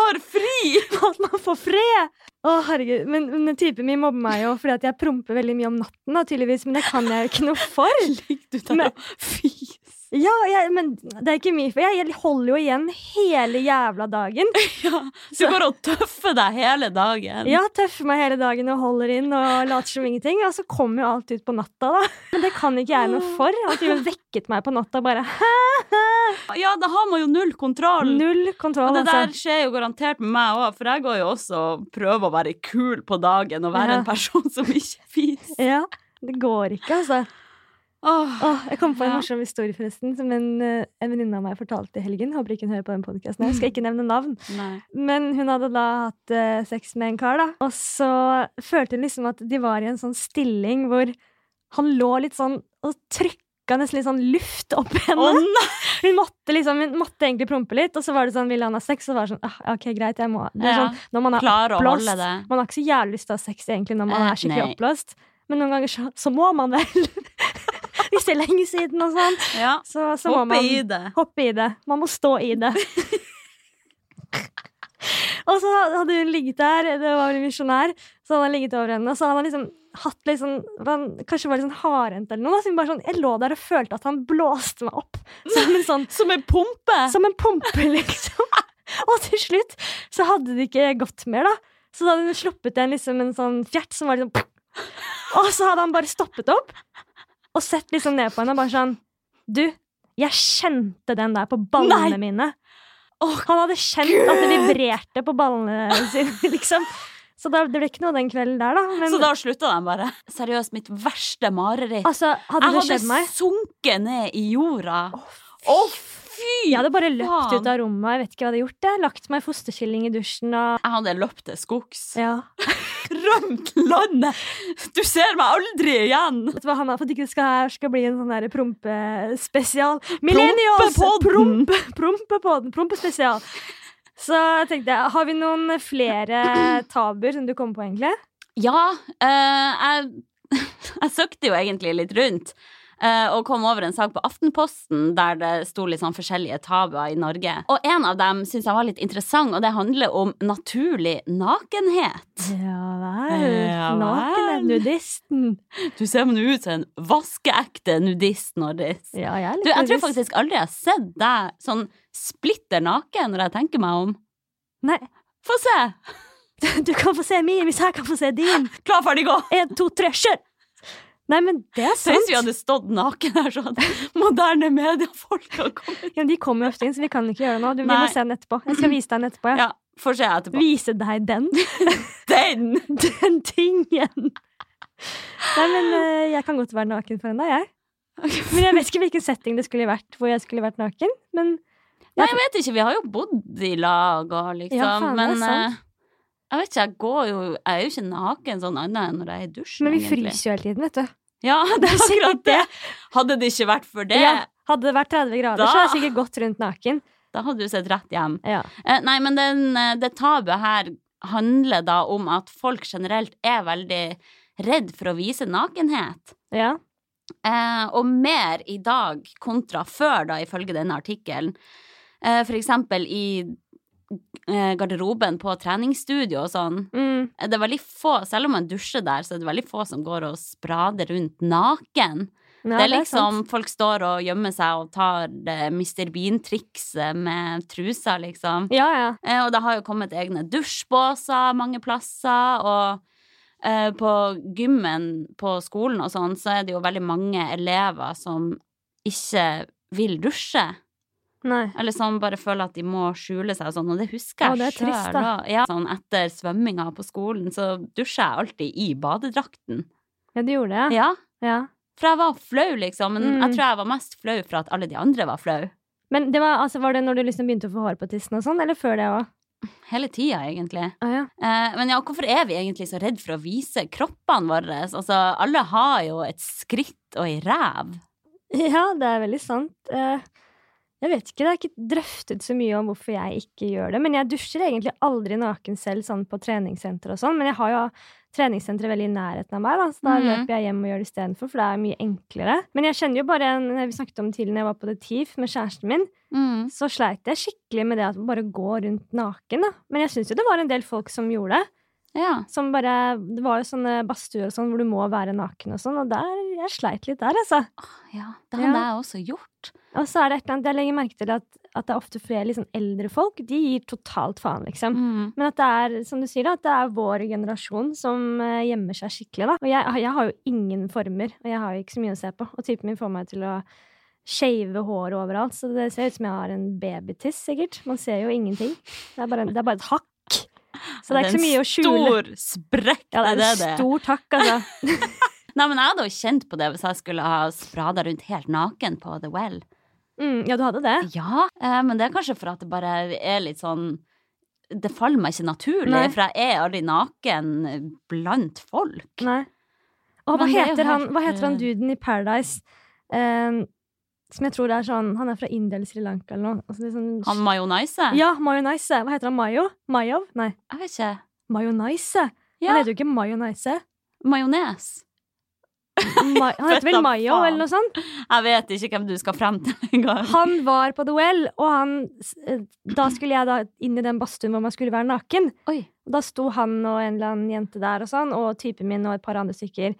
Speaker 2: har fri.
Speaker 1: At man får fred! Å, herregud. Men, men typen min mobber meg jo fordi at jeg promper veldig mye om natten, da, tydeligvis. Men det kan jeg jo ikke noe for.
Speaker 2: Ligger du der
Speaker 1: Men-
Speaker 2: og fiser?
Speaker 1: Ja, jeg, men det er ikke mye for. Jeg holder jo igjen hele jævla dagen.
Speaker 2: Ja, du går og tøffer deg hele dagen.
Speaker 1: Ja, tøffer meg hele dagen og holder inn og later som ingenting. Og så kommer jo alt ut på natta, da. Men det kan ikke jeg noe for. Han har til og med vekket meg på natta bare. Hæ?
Speaker 2: Ja, da har man jo null kontroll.
Speaker 1: Null kontroll,
Speaker 2: og det der
Speaker 1: altså.
Speaker 2: skjer jo garantert med meg òg, for jeg går jo også og prøver å være kul på dagen og
Speaker 1: Ja.
Speaker 2: være en person som ikke fiser.
Speaker 1: Ja, det går ikke, altså.
Speaker 2: Åh.
Speaker 1: Åh, jeg kom på en
Speaker 2: Ja.
Speaker 1: morsom historie, forresten, som en, eh, en venninne av meg fortalte i helgen. Håper ikke hun hører på den podkasten. Jeg skal ikke nevne navn.
Speaker 2: Nei.
Speaker 1: Men hun hadde da hatt eh, sex med en kar, da. Og så følte hun liksom at de var i en sånn stilling hvor han lå litt sånn og trykka nesten litt sånn luft opp i henne.
Speaker 2: Å nei!
Speaker 1: Hun måtte liksom, hun måtte egentlig prompe litt, og så var det sånn, ville han ha sex? Og så var det sånn, ah, ok, greit, jeg må det er
Speaker 2: Ja.
Speaker 1: sånn, Når man er
Speaker 2: Klarer å
Speaker 1: oppblåst
Speaker 2: holde det.
Speaker 1: Man har ikke så jævlig lyst til å ha sex egentlig når man
Speaker 2: Eh,
Speaker 1: er skikkelig
Speaker 2: nei.
Speaker 1: oppblåst, men noen ganger så, så må man vel. Hvis det er lenge siden og sånn,
Speaker 2: Ja.
Speaker 1: så, så må
Speaker 2: Hoppe
Speaker 1: man
Speaker 2: i det.
Speaker 1: Hoppe i det. Man må stå i det. og så hadde hun ligget der, det var vel en misjonær, så hadde han ligget over henne, og så hadde han liksom hatt litt sånn han, Kanskje var litt sånn hardhendt eller noe, da, så hun bare sånn Jeg lå der og følte at han blåste meg opp som en sånn
Speaker 2: Som en pumpe!
Speaker 1: Som en pumpe, liksom. og til slutt så hadde det ikke gått mer, da. Så da hadde hun sluppet en, liksom, en sånn fjert som var liksom Og så hadde han bare stoppet opp og sett liksom ned på henne og bare sånn Du, jeg kjente den der på ballene
Speaker 2: Nei!
Speaker 1: mine.
Speaker 2: Åh,
Speaker 1: Han hadde kjent at det vibrerte på ballene sine, liksom. Så da, det ble ikke noe den kvelden der, da. Men
Speaker 2: Så da slutta de bare. Seriøst, mitt verste mareritt.
Speaker 1: altså, hadde det
Speaker 2: jeg
Speaker 1: skjedd
Speaker 2: hadde
Speaker 1: meg
Speaker 2: sunket ned i jorda. Å, fy!
Speaker 1: Jeg hadde bare løpt
Speaker 2: faen.
Speaker 1: ut av rommet, jeg vet ikke hva jeg hadde gjort. Jeg. Lagt meg i fosterkylling i dusjen og
Speaker 2: Jeg hadde løpt til skogs.
Speaker 1: ja.
Speaker 2: Rømt landet! Du ser meg aldri igjen!
Speaker 1: Vet du hva, Hanna, for at ikke det skal, her skal bli en sånn der prompespesial. Millennials!
Speaker 2: Prompepodden!
Speaker 1: Prompe, prompepodden! Prompespesial. Så tenkte jeg, har vi noen flere tabuer som du kommer på, egentlig?
Speaker 2: Ja, eh, jeg, jeg søkte jo egentlig litt rundt. eh, og kom over en sak på Aftenposten der det sto litt sånn forskjellige tabuer i Norge. Og en av dem syns jeg var litt interessant, og det handler om naturlig nakenhet.
Speaker 1: Eh, Ja
Speaker 2: Ja vel.
Speaker 1: Naken er nudisten.
Speaker 2: Du ser nå ut som en vaskeekte nudist, Norris.
Speaker 1: Ja, jeg er
Speaker 2: Du,
Speaker 1: litt
Speaker 2: jeg tror
Speaker 1: nudist.
Speaker 2: faktisk aldri jeg har sett deg sånn splitter naken når jeg tenker meg om.
Speaker 1: Nei,
Speaker 2: Få se!
Speaker 1: du kan få se min hvis jeg kan få se din.
Speaker 2: Klar, ferdig, gå!
Speaker 1: En, to, tre, kjør! Nei, men det er
Speaker 2: Hvis
Speaker 1: sant.
Speaker 2: vi hadde stått naken her, så hadde moderne mediefolk hadde kommet.
Speaker 1: Ja, de kommer jo ofte inn, så vi kan ikke gjøre noe. Du, vi
Speaker 2: Nei.
Speaker 1: må se den etterpå. Jeg skal vise deg den etterpå. Ja.
Speaker 2: Ja, får se etterpå.
Speaker 1: Vise deg den.
Speaker 2: Den!
Speaker 1: den tingen. Nei, men eh, jeg kan godt være naken foran deg, jeg. Men jeg vet ikke hvilken setting det skulle vært hvor jeg skulle vært naken. Men
Speaker 2: Nei, jeg vet ikke. Vi har jo bodd i lag og liksom,
Speaker 1: Ja, faen, det er
Speaker 2: men
Speaker 1: sant.
Speaker 2: eh, jeg vet ikke, jeg går jo Jeg er jo ikke naken sånn annet enn når jeg er i dusjen,
Speaker 1: Men vi fryser jo hele tiden, vet du.
Speaker 2: Ja, det er
Speaker 1: sikkert
Speaker 2: akkurat det. Hadde det ikke vært for det,
Speaker 1: Ja, hadde det vært 30 grader,
Speaker 2: Da-
Speaker 1: så hadde jeg sikkert gått rundt naken.
Speaker 2: da hadde du sett rett hjem.
Speaker 1: Ja.
Speaker 2: Eh, Nei, men den, eh, det tabuet her handler da om at folk generelt er veldig redd for å vise nakenhet.
Speaker 1: ja.
Speaker 2: Eh, og mer i dag kontra før, da, ifølge denne artikkelen. Eh, for eksempel i eh, garderoben på treningsstudio og sånn.
Speaker 1: Mm.
Speaker 2: Eh, Det er veldig få, selv om man dusjer der, så er det veldig få som går og sprader rundt naken.
Speaker 1: Ja,
Speaker 2: det er
Speaker 1: sant.
Speaker 2: liksom, Folk står og gjemmer seg og tar det Mr. Bean-trikset med trusa, liksom.
Speaker 1: Ja, ja.
Speaker 2: Eh, og det har jo kommet egne dusjbåser mange plasser, og eh, på gymmen på skolen og sånn, så er det jo veldig mange elever som ikke vil dusje.
Speaker 1: Nei.
Speaker 2: Eller som bare føler at de må skjule seg og sånn, og det husker
Speaker 1: Å,
Speaker 2: jeg
Speaker 1: det er trist,
Speaker 2: selv
Speaker 1: da.
Speaker 2: også. Ja, sånn etter svømminga på skolen, så dusjer jeg alltid i badedrakten.
Speaker 1: Ja, du gjorde det, ja.
Speaker 2: Ja.
Speaker 1: ja.
Speaker 2: For jeg var flau, liksom. Men
Speaker 1: Mm.
Speaker 2: jeg tror jeg var mest flau for at alle de andre var flau.
Speaker 1: Men det var, altså, var det når du liksom begynte å få hår på tissen og sånn, eller før det òg?
Speaker 2: hele tida, egentlig.
Speaker 1: Ah, ja.
Speaker 2: Eh, men ja, hvorfor er vi egentlig så redd for å vise kroppene våre? Altså, alle har jo et skritt og ei ræv.
Speaker 1: ja, det er veldig sant. Eh, Jeg vet ikke, Det er ikke drøftet så mye om hvorfor jeg ikke gjør det. Men jeg dusjer egentlig aldri naken selv sånn på treningssenter og sånn. Men jeg har jo treningssenteret veldig i nærheten av meg, da, så da
Speaker 2: Mhm.
Speaker 1: løper jeg hjem og gjør det istedenfor, for det er mye enklere. Men jeg kjenner jo bare en Vi snakket om det tidligere når jeg var på det TIF med kjæresten min. så sleit jeg skikkelig med det at man bare går rundt naken. Da. Men jeg syns jo det var en del folk som gjorde det.
Speaker 2: Ja.
Speaker 1: Som bare, det var jo sånne badstuer og sånn hvor du må være naken og sånn, og der, jeg sleit litt der, altså.
Speaker 2: ja. Det hadde jeg også gjort.
Speaker 1: Og så er det et eller annet jeg legger merke til at, at det er ofte flere liksom, eldre folk. De gir totalt faen, liksom.
Speaker 2: Mm.
Speaker 1: Men at det er som du sier da, at det er vår generasjon som eh, gjemmer seg skikkelig. da. Og jeg, jeg har jo ingen former, og jeg har jo ikke så mye å se på. Og typen min får meg til å shave håret overalt, så det ser ut som jeg har en babytiss, sikkert. Man ser jo ingenting. Det er bare, det er bare et hakk. Så det er ikke så mye å skjule.
Speaker 2: Stor sprekk,
Speaker 1: Ja, det er
Speaker 2: det.
Speaker 1: et stort hakk, altså.
Speaker 2: Nei, men jeg hadde jo kjent på det hvis jeg skulle ha sprada rundt helt naken på The Well.
Speaker 1: Mm, ja, du hadde det?
Speaker 2: Ja, eh, men det er kanskje for at det bare er litt sånn Det faller meg ikke naturlig,
Speaker 1: Nei.
Speaker 2: for jeg er aldri naken blant folk.
Speaker 1: Nei. Og hva
Speaker 2: Men det er jo
Speaker 1: heter, han, hva
Speaker 2: helt,
Speaker 1: heter han
Speaker 2: eh,
Speaker 1: duden i Paradise? Eh, som jeg tror det er sånn Han er fra India eller Sri Lanka eller noe. Altså, det er sånn
Speaker 2: Han majonaise?
Speaker 1: Ja, mayonnaise. Hva heter han? Mayo? Mayov? Nei,
Speaker 2: Jeg vet ikke.
Speaker 1: mayonnaise.
Speaker 2: Ja,
Speaker 1: Han heter jo ikke mayonnaise.
Speaker 2: majones.
Speaker 1: Ma han heter vel
Speaker 2: Fett da
Speaker 1: Mayo
Speaker 2: faen.
Speaker 1: eller noe sånt.
Speaker 2: Jeg vet ikke hvem du skal frem til engang.
Speaker 1: Han var på The Well, og han, s- eh, da skulle jeg da inn i den badstuen hvor man skulle være naken.
Speaker 2: Oi.
Speaker 1: Og Da sto han og en eller annen jente der og sånn, og typen min og et par andre stykker.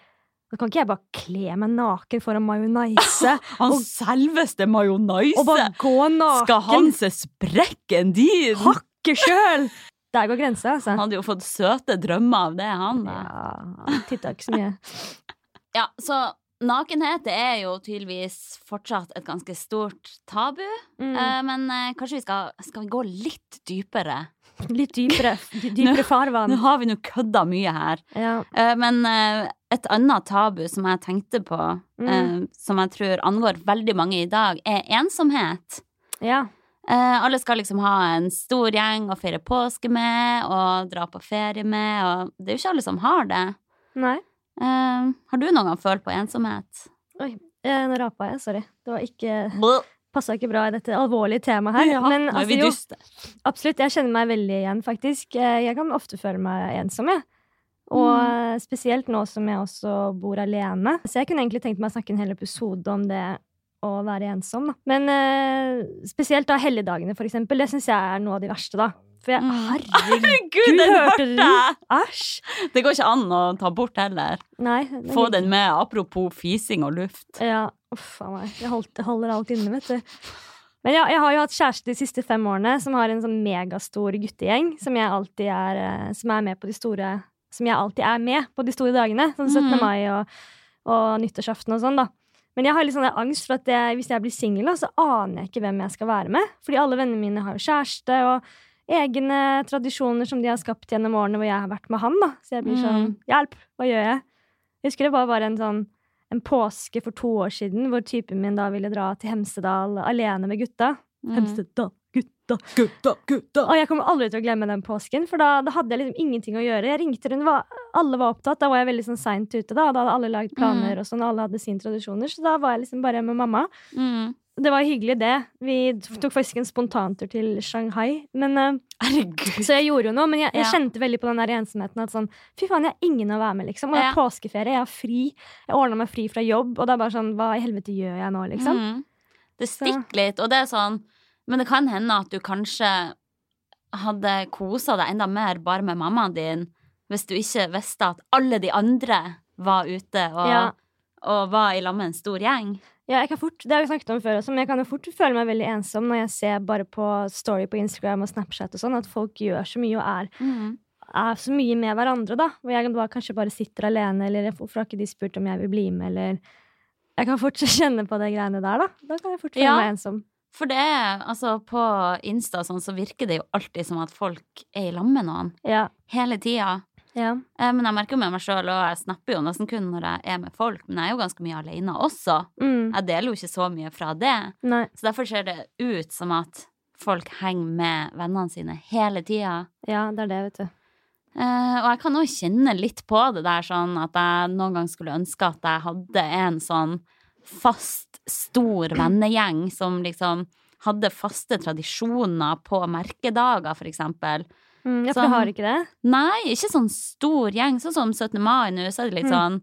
Speaker 1: Da kan ikke jeg bare kle meg naken foran mayonnaise
Speaker 2: Han
Speaker 1: Og-
Speaker 2: selveste
Speaker 1: og
Speaker 2: majonaise!
Speaker 1: bare gå naken.
Speaker 2: Skal han se sprekken din?
Speaker 1: hakke sjøl? Der går grensa,
Speaker 2: Han
Speaker 1: altså.
Speaker 2: hadde jo fått søte drømmer av det, han. da.
Speaker 1: Ja, han titta ikke så mye.
Speaker 2: Ja, så nakenhet det er jo tydeligvis fortsatt et ganske stort tabu.
Speaker 1: Mm.
Speaker 2: Eh, men eh, kanskje vi skal, skal vi gå litt dypere?
Speaker 1: Litt dypere, dypere
Speaker 2: Nå
Speaker 1: farvann.
Speaker 2: har vi nå kødda mye her.
Speaker 1: Ja.
Speaker 2: Eh, men eh, et annet tabu som jeg tenkte på, eh,
Speaker 1: Mm.
Speaker 2: som jeg tror angår veldig mange i dag, er ensomhet.
Speaker 1: ja.
Speaker 2: Eh, alle skal liksom ha en stor gjeng å feire påske med og dra på ferie med, og det er jo ikke alle som har det.
Speaker 1: Nei.
Speaker 2: Eh, har du noen gang følt på ensomhet?
Speaker 1: Eh, nå rapa jeg, sorry. Det var ikke Passa ikke bra i dette alvorlige temaet her.
Speaker 2: Ja,
Speaker 1: men
Speaker 2: nå er
Speaker 1: altså,
Speaker 2: vi
Speaker 1: jo,
Speaker 2: dyste.
Speaker 1: absolutt, jeg kjenner meg veldig igjen, faktisk. Eh, Jeg kan ofte føle meg ensom, jeg. Og
Speaker 2: Mm.
Speaker 1: eh, spesielt nå som jeg også bor alene. Så jeg kunne egentlig tenkt meg å snakke en hel episode om det å være ensom. Da. Men eh, spesielt da helligdagene, for eksempel. Det syns jeg er noe av de verste, da. For jeg,
Speaker 2: Mm.
Speaker 1: herregud,
Speaker 2: Gud, den
Speaker 1: hørte
Speaker 2: hørte jeg!
Speaker 1: æsj!
Speaker 2: Det går ikke an å ta bort heller.
Speaker 1: Nei. det-
Speaker 2: Få den med, apropos fising og luft.
Speaker 1: Ja, uff a meg. Jeg holdt, holder alt inne, vet du. Men ja, jeg har jo hatt kjæreste de siste fem årene som har en sånn megastor guttegjeng som, jeg alltid er, eh, som er med på de store Som jeg alltid er med på de store dagene. Sånn 17.
Speaker 2: Mhm.
Speaker 1: mai og, og nyttårsaften og sånn, da. Men jeg har litt sånn der angst for at jeg, hvis jeg blir singel, da, så aner jeg ikke hvem jeg skal være med. Fordi alle vennene mine har jo kjæreste og egne tradisjoner som de har skapt gjennom årene hvor jeg har vært med han. da. Så jeg blir sånn
Speaker 2: Mhm.
Speaker 1: Hjelp! Hva gjør jeg? Jeg husker det var bare en sånn en påske for to år siden hvor typen min da ville dra til Hemsedal alene med gutta.
Speaker 2: Mm.
Speaker 1: Hemsedal, gutta.
Speaker 2: Gutta, gutta!
Speaker 1: Og jeg kommer aldri til å glemme den påsken, for da, da hadde jeg liksom ingenting å gjøre. Jeg ringte rundt, var- alle var opptatt, da var jeg veldig sånn seint ute, da. og Da hadde alle lagd planer, og sånn, og alle hadde sine tradisjoner, så da var jeg liksom bare med mamma.
Speaker 2: Mm.
Speaker 1: Det var hyggelig, det. Vi tok faktisk en spontantur til Shanghai. Men, eh,
Speaker 2: Herregud.
Speaker 1: så jeg gjorde jo noe, men jeg, jeg
Speaker 2: Ja.
Speaker 1: kjente veldig på den der ensomheten. At sånn, fy faen, jeg har ingen å være med, liksom. Og det er
Speaker 2: Ja.
Speaker 1: påskeferie, jeg har fri. Jeg ordna meg fri fra jobb, og det er bare sånn, hva i helvete gjør jeg nå, liksom?
Speaker 2: Mm. Det stikker litt, og det er sånn Men det kan hende at du kanskje hadde kosa deg enda mer bare med mammaen din hvis du ikke visste at alle de andre var ute og,
Speaker 1: Ja.
Speaker 2: og var i lag med en stor gjeng.
Speaker 1: Ja, jeg kan fort, det har vi snakket om før også, men jeg kan jo fort føle meg veldig ensom når jeg ser bare på story på Instagram og Snapchat og sånn, at folk gjør så mye og er, er så mye med hverandre, da. Hvor jeg da kanskje bare sitter alene, eller hvorfor har ikke de spurt om jeg vil bli med, eller Jeg kan fort kjenne på de greiene der, da. Da kan jeg fort føle
Speaker 2: Ja.
Speaker 1: meg ensom.
Speaker 2: For det er, altså på Insta og sånn, så virker det jo alltid som at folk er i lag med noen.
Speaker 1: Ja.
Speaker 2: Hele tida.
Speaker 1: ja.
Speaker 2: Eh, Men jeg merker jo med meg sjøl, og jeg snapper jo nesten kun når jeg er med folk. Men jeg er jo ganske mye alene også.
Speaker 1: Mm.
Speaker 2: Jeg deler jo ikke så mye fra det.
Speaker 1: Nei.
Speaker 2: Så derfor ser det ut som at folk henger med vennene sine hele tida.
Speaker 1: Ja, det er det, vet du.
Speaker 2: Eh, og jeg kan òg kjenne litt på det der sånn at jeg noen gang skulle ønske at jeg hadde en sånn fast, stor vennegjeng som liksom hadde faste tradisjoner på merkedager, for eksempel.
Speaker 1: Mm, ja, for du
Speaker 2: Sånn-
Speaker 1: har ikke det?
Speaker 2: Nei, ikke sånn stor gjeng. Sånn som 17. mai nå, så er det litt
Speaker 1: Mm.
Speaker 2: sånn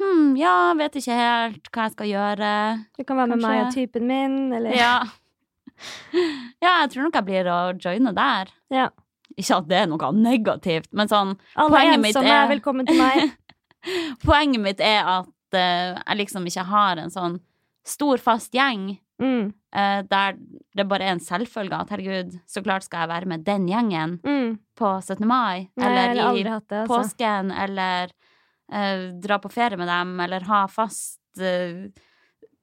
Speaker 2: Hm, ja, vet ikke helt hva jeg skal gjøre.
Speaker 1: Du kan være med
Speaker 2: Kanskje-
Speaker 1: meg og typen min, eller
Speaker 2: Ja. ja, jeg tror nok jeg blir å joine der.
Speaker 1: Ja.
Speaker 2: Ikke at det er noe negativt, men sånn
Speaker 1: Alle
Speaker 2: Poenget mitt
Speaker 1: ensomme
Speaker 2: er-
Speaker 1: er velkommen til meg.
Speaker 2: Poenget mitt er at eh, jeg liksom ikke har en sånn stor, fast gjeng
Speaker 1: Mm,
Speaker 2: eh, der det bare er en selvfølge at herregud, så klart skal jeg være med den gjengen
Speaker 1: mm.
Speaker 2: på 17. mai.
Speaker 1: Nei, jeg har
Speaker 2: eller i
Speaker 1: aldri hatt det, altså.
Speaker 2: påsken, eller eh, dra på ferie med dem, eller ha fast uh,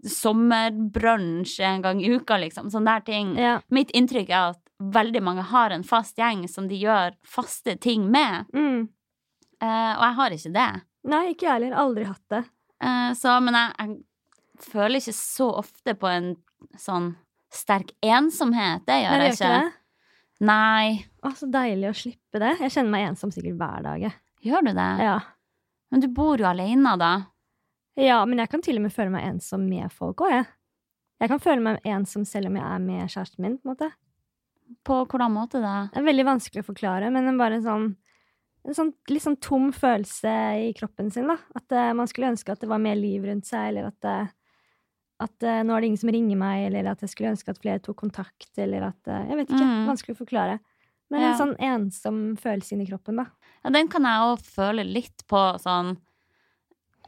Speaker 2: sommerbrunsj en gang i uka, liksom. Sånne der ting.
Speaker 1: Ja.
Speaker 2: Mitt inntrykk er at veldig mange har en fast gjeng som de gjør faste ting med,
Speaker 1: Mm.
Speaker 2: eh, og jeg har ikke det.
Speaker 1: Nei, ikke jeg heller. Aldri hatt det.
Speaker 2: Eh, så, men jeg, jeg føler ikke så ofte på en sånn sterk ensomhet. Det gjør
Speaker 1: Nei,
Speaker 2: jeg
Speaker 1: det
Speaker 2: ikke.
Speaker 1: det.
Speaker 2: Nei.
Speaker 1: Å, så deilig å slippe det. Jeg kjenner meg ensom sikkert hver dag. jeg.
Speaker 2: Gjør du det?
Speaker 1: Ja.
Speaker 2: Men du bor jo alene, da.
Speaker 1: ja, men jeg kan til og med føle meg ensom med folk òg, jeg. Jeg kan føle meg ensom selv om jeg er med kjæresten min. på en måte.
Speaker 2: På hvordan måte da?
Speaker 1: Det er veldig vanskelig å forklare, men en bare en sånn, en sånn litt sånn tom følelse i kroppen sin. da. At eh, man skulle ønske at det var mer liv rundt seg, eller at, eh, at eh, nå er det ingen som ringer meg, eller at jeg skulle ønske at flere tok kontakt, eller at eh, Jeg vet ikke.
Speaker 2: Mm.
Speaker 1: Vanskelig å forklare. Men
Speaker 2: Ja.
Speaker 1: en sånn ensom følelse inni kroppen, da.
Speaker 2: Ja, den kan jeg òg føle litt på sånn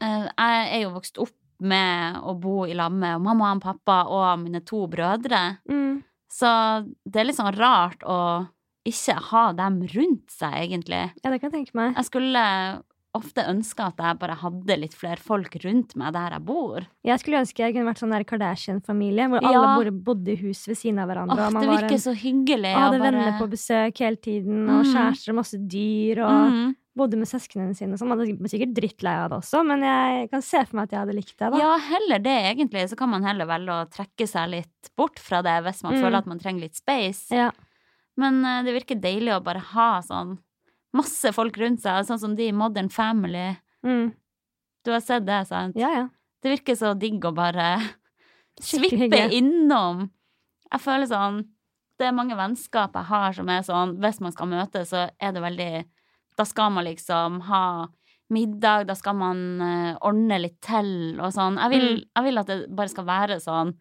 Speaker 2: eh, Jeg er jo vokst opp med å bo i lag med mamma og pappa og mine to brødre.
Speaker 1: Mm.
Speaker 2: Så det er litt sånn rart å ikke ha dem rundt seg, egentlig.
Speaker 1: Ja, det kan jeg tenke meg.
Speaker 2: Jeg skulle ofte ønske at jeg bare hadde litt flere folk rundt meg der jeg bor.
Speaker 1: Jeg skulle ønske jeg kunne vært sånn der Kardashian-familie, hvor alle
Speaker 2: Ja.
Speaker 1: bare bodde i hus ved siden av hverandre.
Speaker 2: Åh,
Speaker 1: og man
Speaker 2: det
Speaker 1: var
Speaker 2: virker
Speaker 1: en,
Speaker 2: så hyggelig.
Speaker 1: og hadde
Speaker 2: å bare-
Speaker 1: venner på besøk hele tiden, og
Speaker 2: Mm.
Speaker 1: kjærester og masse dyr, og
Speaker 2: Mm.
Speaker 1: bodde med søsknene sine. og sånn. Man hadde vært sikkert drittlei av det også, men jeg kan se for meg at jeg hadde likt det. da.
Speaker 2: Ja, heller det, egentlig. Så kan man heller velge å trekke seg litt bort fra det hvis man
Speaker 1: Mm.
Speaker 2: føler at man trenger litt space.
Speaker 1: Ja.
Speaker 2: Men eh, det virker deilig å bare ha sånn masse folk rundt seg, sånn som de i Modern Family.
Speaker 1: Mm.
Speaker 2: Du har sett det, sant?
Speaker 1: ja, ja.
Speaker 2: Det virker så digg å bare
Speaker 1: Skikkelig
Speaker 2: svippe
Speaker 1: hyggelig.
Speaker 2: innom. Jeg føler sånn Det er mange vennskap jeg har som er sånn Hvis man skal møtes, så er det veldig Da skal man liksom ha middag, da skal man eh, ordne litt til og sånn. Jeg vil,
Speaker 1: Mm.
Speaker 2: jeg vil at det bare skal være sånn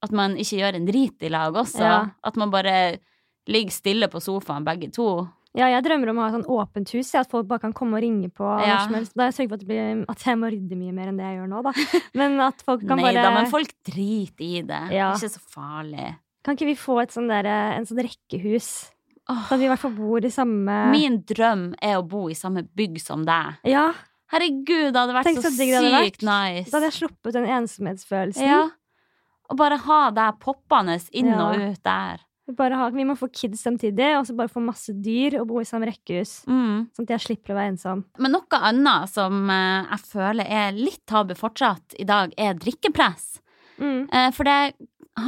Speaker 2: at man ikke gjør en drit i lag også.
Speaker 1: Ja.
Speaker 2: At man bare ligger stille på sofaen begge to.
Speaker 1: Ja, jeg drømmer om å ha sånn åpent hus, ja, at folk bare kan komme og ringe på.
Speaker 2: Ja.
Speaker 1: når som helst. Da jeg sørger for at, det blir, at jeg må rydde mye mer enn det jeg gjør nå, da. Men at folk kan
Speaker 2: Nei
Speaker 1: bare
Speaker 2: da, men folk driter i det.
Speaker 1: Ja.
Speaker 2: Ikke så farlig.
Speaker 1: Kan ikke vi få et sånn der, en sånn rekkehus?
Speaker 2: Åh,
Speaker 1: Så at vi i hvert fall bor i samme
Speaker 2: Min drøm er å bo i samme bygg som deg.
Speaker 1: Ja,
Speaker 2: Herregud, det hadde vært
Speaker 1: Tenk
Speaker 2: så,
Speaker 1: så digg det hadde
Speaker 2: sykt nice.
Speaker 1: Da hadde jeg sluppet den ensomhetsfølelsen.
Speaker 2: ja. Og bare ha deg poppende inn
Speaker 1: Ja.
Speaker 2: og ut der.
Speaker 1: Vi, bare har, vi må få kids samtidig, og så bare få masse dyr og bo i samme rekkehus.
Speaker 2: Mm.
Speaker 1: Sånn at jeg slipper å være ensom.
Speaker 2: Men noe annet som eh, jeg føler er litt tabu fortsatt i dag, er drikkepress.
Speaker 1: Mm.
Speaker 2: Eh, for det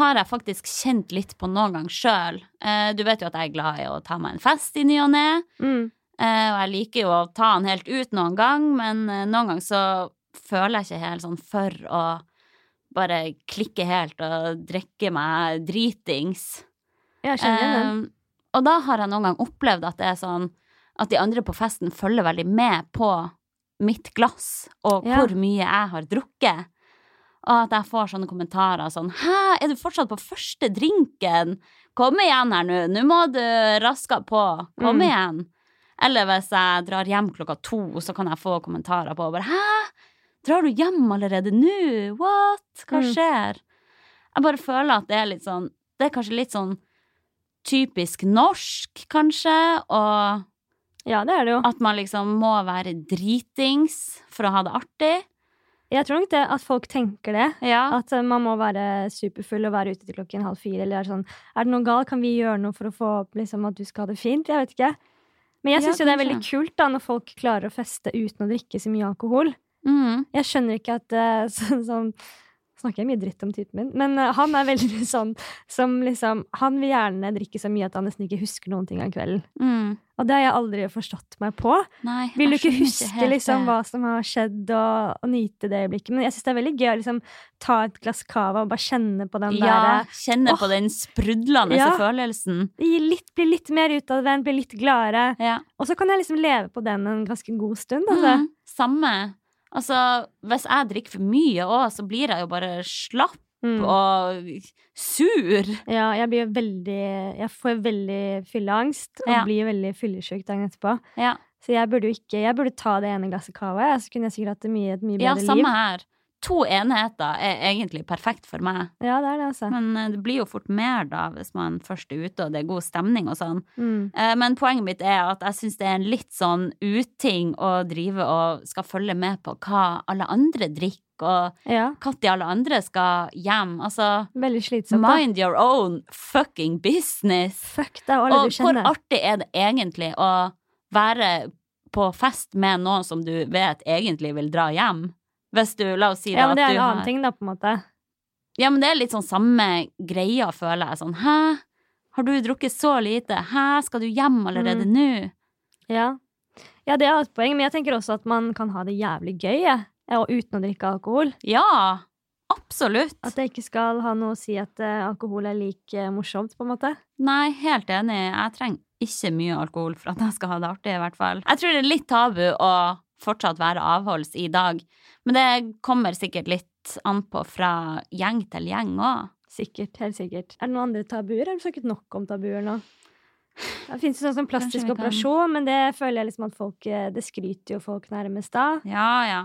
Speaker 2: har jeg faktisk kjent litt på noen gang sjøl. Eh, du vet jo at jeg er glad i å ta meg en fest i ny og ne.
Speaker 1: Mm.
Speaker 2: Eh, og jeg liker jo å ta den helt ut noen gang, men eh, noen gang så føler jeg ikke helt sånn for å bare klikke helt og drikke meg dritings.
Speaker 1: Jeg kjenner igjen den.
Speaker 2: Eh, og da har jeg noen gang opplevd at det er sånn at de andre på festen følger veldig med på mitt glass og
Speaker 1: Ja.
Speaker 2: hvor mye jeg har drukket. Og at jeg får sånne kommentarer sånn Hæ, er du fortsatt på første drinken? Kom igjen her nå, nå må du raske på. Kom
Speaker 1: Mm.
Speaker 2: igjen. Eller hvis jeg drar hjem klokka to, så kan jeg få kommentarer på bare Hæ, drar du hjem allerede nå? What? Hva
Speaker 1: Mm.
Speaker 2: skjer? Jeg bare føler at det er litt sånn Det er kanskje litt sånn typisk norsk, kanskje, og
Speaker 1: Ja, det er det jo.
Speaker 2: at man liksom må være dritings for å ha det artig.
Speaker 1: Jeg tror nok det at folk tenker det.
Speaker 2: Ja.
Speaker 1: At eh, man må være superfull og være ute til klokken halv fire. Eller er det sånn Er det noe galt? Kan vi gjøre noe for å få opp liksom, at du skal ha det fint? Jeg vet ikke. Men jeg
Speaker 2: Ja,
Speaker 1: syns jo det er
Speaker 2: kanskje.
Speaker 1: veldig kult da når folk klarer å feste uten å drikke så mye alkohol.
Speaker 2: Mm.
Speaker 1: Jeg skjønner ikke at eh, sånn som snakker jeg mye dritt om typen min, men eh, han er veldig sånn som liksom Han vil gjerne drikke så mye at han nesten ikke husker noen ting om kvelden.
Speaker 2: Mm.
Speaker 1: Og det har jeg aldri forstått meg på.
Speaker 2: Nei,
Speaker 1: Vil du
Speaker 2: jeg
Speaker 1: ikke
Speaker 2: skjønner
Speaker 1: huske
Speaker 2: helt
Speaker 1: liksom,
Speaker 2: det.
Speaker 1: hva som har skjedd, og, og nyte det øyeblikket? Men jeg syns det er veldig gøy å liksom, ta et glass cava og bare kjenne på den
Speaker 2: Ja,
Speaker 1: der eh,
Speaker 2: kjenne
Speaker 1: Åh.
Speaker 2: på den sprudlende
Speaker 1: Ja.
Speaker 2: følelsen.
Speaker 1: gi litt, Bli litt mer utadvendt, bli litt gladere.
Speaker 2: Ja.
Speaker 1: Og så kan jeg liksom leve på den en ganske god stund. Altså.
Speaker 2: Mm, samme. Altså, hvis jeg drikker for mye òg, så blir jeg jo bare slapp
Speaker 1: Mm.
Speaker 2: og sur.
Speaker 1: Ja, jeg blir jo veldig Jeg får veldig fylleangst og
Speaker 2: Ja.
Speaker 1: blir veldig fyllesyk dagen etterpå.
Speaker 2: Ja,
Speaker 1: Så jeg burde jo ikke Jeg burde ta det ene glasset cava, jeg, så kunne jeg sikkert hatt et mye, et mye
Speaker 2: ja
Speaker 1: bedre
Speaker 2: samme
Speaker 1: liv.
Speaker 2: her. To enheter er egentlig perfekt for meg,
Speaker 1: Ja, det er det, altså.
Speaker 2: men eh, det blir jo fort mer da hvis man først er ute og det er god stemning og sånn.
Speaker 1: Mm.
Speaker 2: Eh, Men poenget mitt er at jeg syns det er en litt sånn uting å drive og skal følge med på hva alle andre drikker, og
Speaker 1: Ja.
Speaker 2: når alle andre skal hjem. Altså,
Speaker 1: Veldig slitsomt. da.
Speaker 2: mind your own fucking business.
Speaker 1: Fuck deg og alle
Speaker 2: Og
Speaker 1: du
Speaker 2: hvor
Speaker 1: kjenner.
Speaker 2: artig er det egentlig å være på fest med noen som du vet egentlig vil dra hjem? Hvis du, la oss si
Speaker 1: Ja,
Speaker 2: da,
Speaker 1: men det
Speaker 2: at
Speaker 1: er
Speaker 2: du
Speaker 1: en
Speaker 2: har
Speaker 1: annen ting, da, på en måte.
Speaker 2: Ja, men det er litt sånn samme greia, føler jeg. Sånn, hæ? Har du drukket så lite? Hæ, skal du hjem allerede
Speaker 1: Mm.
Speaker 2: nå?
Speaker 1: Ja. ja, det er et poeng, men jeg tenker også at man kan ha det jævlig gøy jeg. Ja, og uten å drikke alkohol.
Speaker 2: Ja, absolutt.
Speaker 1: At det ikke skal ha noe å si at eh, alkohol er like eh, morsomt, på en måte.
Speaker 2: Nei, helt enig. Jeg trenger ikke mye alkohol for at jeg skal ha det artig, i hvert fall. Jeg tror det er litt tabu å fortsatt være avholds i dag, men det kommer sikkert litt an på fra gjeng til gjeng òg.
Speaker 1: Sikkert. Helt sikkert. Er det noen andre tabuer? Har du snakket nok om tabuer nå? Det fins sånn som plastisk
Speaker 2: Kanskje vi kan-
Speaker 1: operasjon, men det føler jeg liksom at folk eh, Det skryter jo folk nærmest av.
Speaker 2: Ja, ja.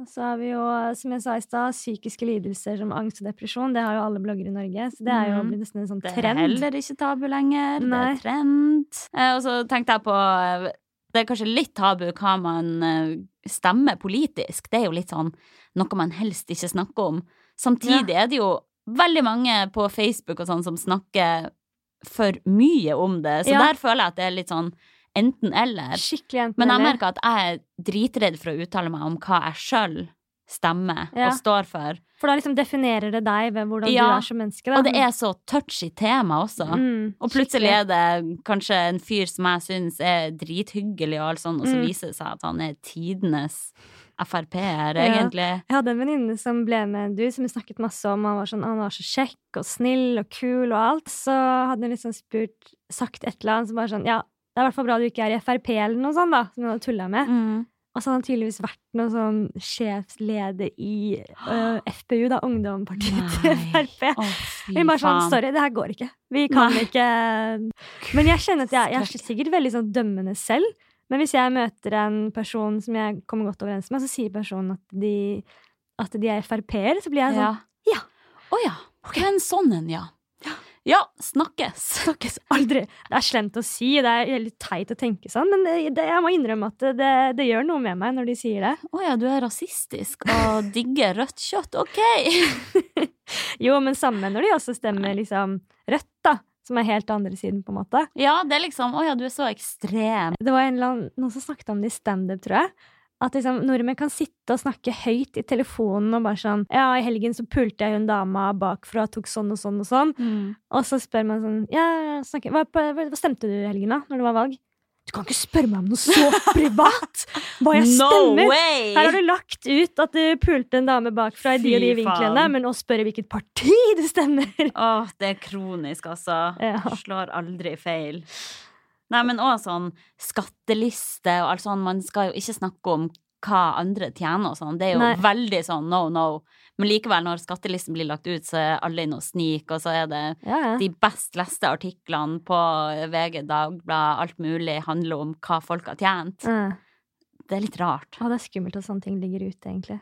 Speaker 1: Og så har vi jo, som jeg sa i stad, psykiske lidelser som angst og depresjon. Det har jo alle bloggere i Norge, så det er jo
Speaker 2: Mhm.
Speaker 1: blitt nesten en sånn
Speaker 2: Det er
Speaker 1: trend.
Speaker 2: heller ikke tabu lenger. Det
Speaker 1: Nei.
Speaker 2: er trend. Eh, Og så tenkte jeg på eh, Det er kanskje litt tabu hva man eh, stemmer politisk. Det er jo litt sånn noe man helst ikke snakker om. Samtidig er det jo veldig mange på Facebook og sånn som snakker for mye om det, så
Speaker 1: Ja.
Speaker 2: der føler jeg at det er litt sånn enten-eller.
Speaker 1: Skikkelig enten
Speaker 2: Men jeg
Speaker 1: eller.
Speaker 2: merker at jeg er dritredd for å uttale meg om hva jeg sjøl stemmer
Speaker 1: Ja.
Speaker 2: og står for.
Speaker 1: For da liksom definerer det deg ved hvordan du
Speaker 2: Ja,
Speaker 1: er som menneske. Da.
Speaker 2: Og det er så touchy tema også.
Speaker 1: Mm,
Speaker 2: Og plutselig
Speaker 1: skikkelig.
Speaker 2: er det kanskje en fyr som jeg syns er drithyggelig, og alt sånt, og så
Speaker 1: Mm.
Speaker 2: viser det seg at han er tidenes Frp-er,
Speaker 1: Ja.
Speaker 2: egentlig.
Speaker 1: Jeg hadde en venninne som ble med en dude som vi snakket masse om. Han var, sånn, han var så kjekk og snill og kul og alt. Så hadde hun liksom spurt, sagt et eller annet som bare sånn Ja, det er i hvert fall bra du ikke er i Frp eller noe sånt, da, som hun hadde tulla med.
Speaker 2: Mm.
Speaker 1: Og så hadde han tydeligvis vært noen sånn sjefsleder i øh, FPU, da, ungdomspartiet til
Speaker 2: Nei.
Speaker 1: Frp.
Speaker 2: Å, fy
Speaker 1: Hun bare sånn
Speaker 2: faen.
Speaker 1: Sorry, det her går ikke. Vi kan
Speaker 2: Nei.
Speaker 1: ikke Men jeg kjenner at jeg, jeg er sikkert veldig sånn dømmende selv. Men hvis jeg møter en person som jeg kommer godt overens med, så sier personen at de, at de er Frp-er, så blir jeg
Speaker 2: Ja.
Speaker 1: sånn Ja.
Speaker 2: Å ja. En sånn en, ja. Ja, snakkes.
Speaker 1: Snakkes aldri! Det er slemt å si, det er veldig teit å tenke sånn, men det, det, jeg må innrømme at det, det gjør noe med meg når de sier det.
Speaker 2: Å ja, du er rasistisk og digger rødt kjøtt. Ok!
Speaker 1: Jo, men samme når de også stemmer liksom rødt, da. Som er helt andre siden, på en måte.
Speaker 2: Ja, det er liksom Å ja, du er så ekstrem.
Speaker 1: Det var en eller annen, noen som snakket om det i standup, tror jeg. At liksom, nordmenn kan sitte og snakke høyt i telefonen og bare sånn Ja, i helgen så pulte jeg hun dama bakfra og tok sånn og sånn og sånn. Og så spør man sånn Ja, snakker, hva, hva, hva stemte du i helgen, da? Når det var valg? Du kan ikke spørre meg om noe så privat! Hva jeg
Speaker 2: No
Speaker 1: stemmer!
Speaker 2: way!
Speaker 1: Her har du lagt ut at du pulte en dame bakfra i de og de
Speaker 2: Fy faen.
Speaker 1: vinklene, men å spørre hvilket parti du stemmer
Speaker 2: Åh, det er kronisk, altså.
Speaker 1: Ja.
Speaker 2: Slår aldri feil. Nei, men òg sånn skatteliste og alt sånn. Man skal jo ikke snakke om hva andre tjener og sånn. Det er jo
Speaker 1: Nei.
Speaker 2: veldig sånn no, no. Men likevel, når skattelisten blir lagt ut, så er alle inne og sniker, og så er det
Speaker 1: Ja, ja.
Speaker 2: de best leste artiklene på VG, Dagbladet, alt mulig handler om hva folk har tjent.
Speaker 1: Ja.
Speaker 2: Det er litt rart.
Speaker 1: Å, det er skummelt at sånne ting ligger ute, egentlig.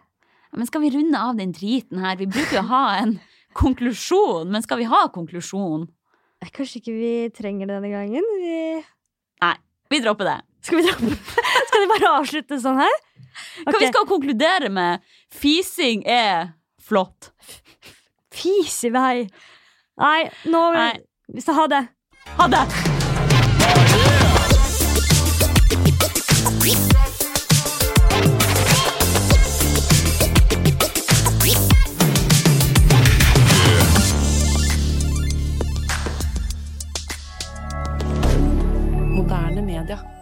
Speaker 2: Men skal vi runde av den driten her? Vi bruker jo å ha en konklusjon, men skal vi ha konklusjon?
Speaker 1: Eh, Kanskje ikke vi trenger det denne gangen? Vi...
Speaker 2: Nei, vi dropper det.
Speaker 1: Skal vi dra... Skal vi bare avslutte sånn her?
Speaker 2: Hva vi
Speaker 1: Ok.
Speaker 2: skal konkludere med? Fising er flott.
Speaker 1: Fis i vei! Nei, nå
Speaker 2: Nei.
Speaker 1: Så ha det.
Speaker 2: Ha det!
Speaker 3: media.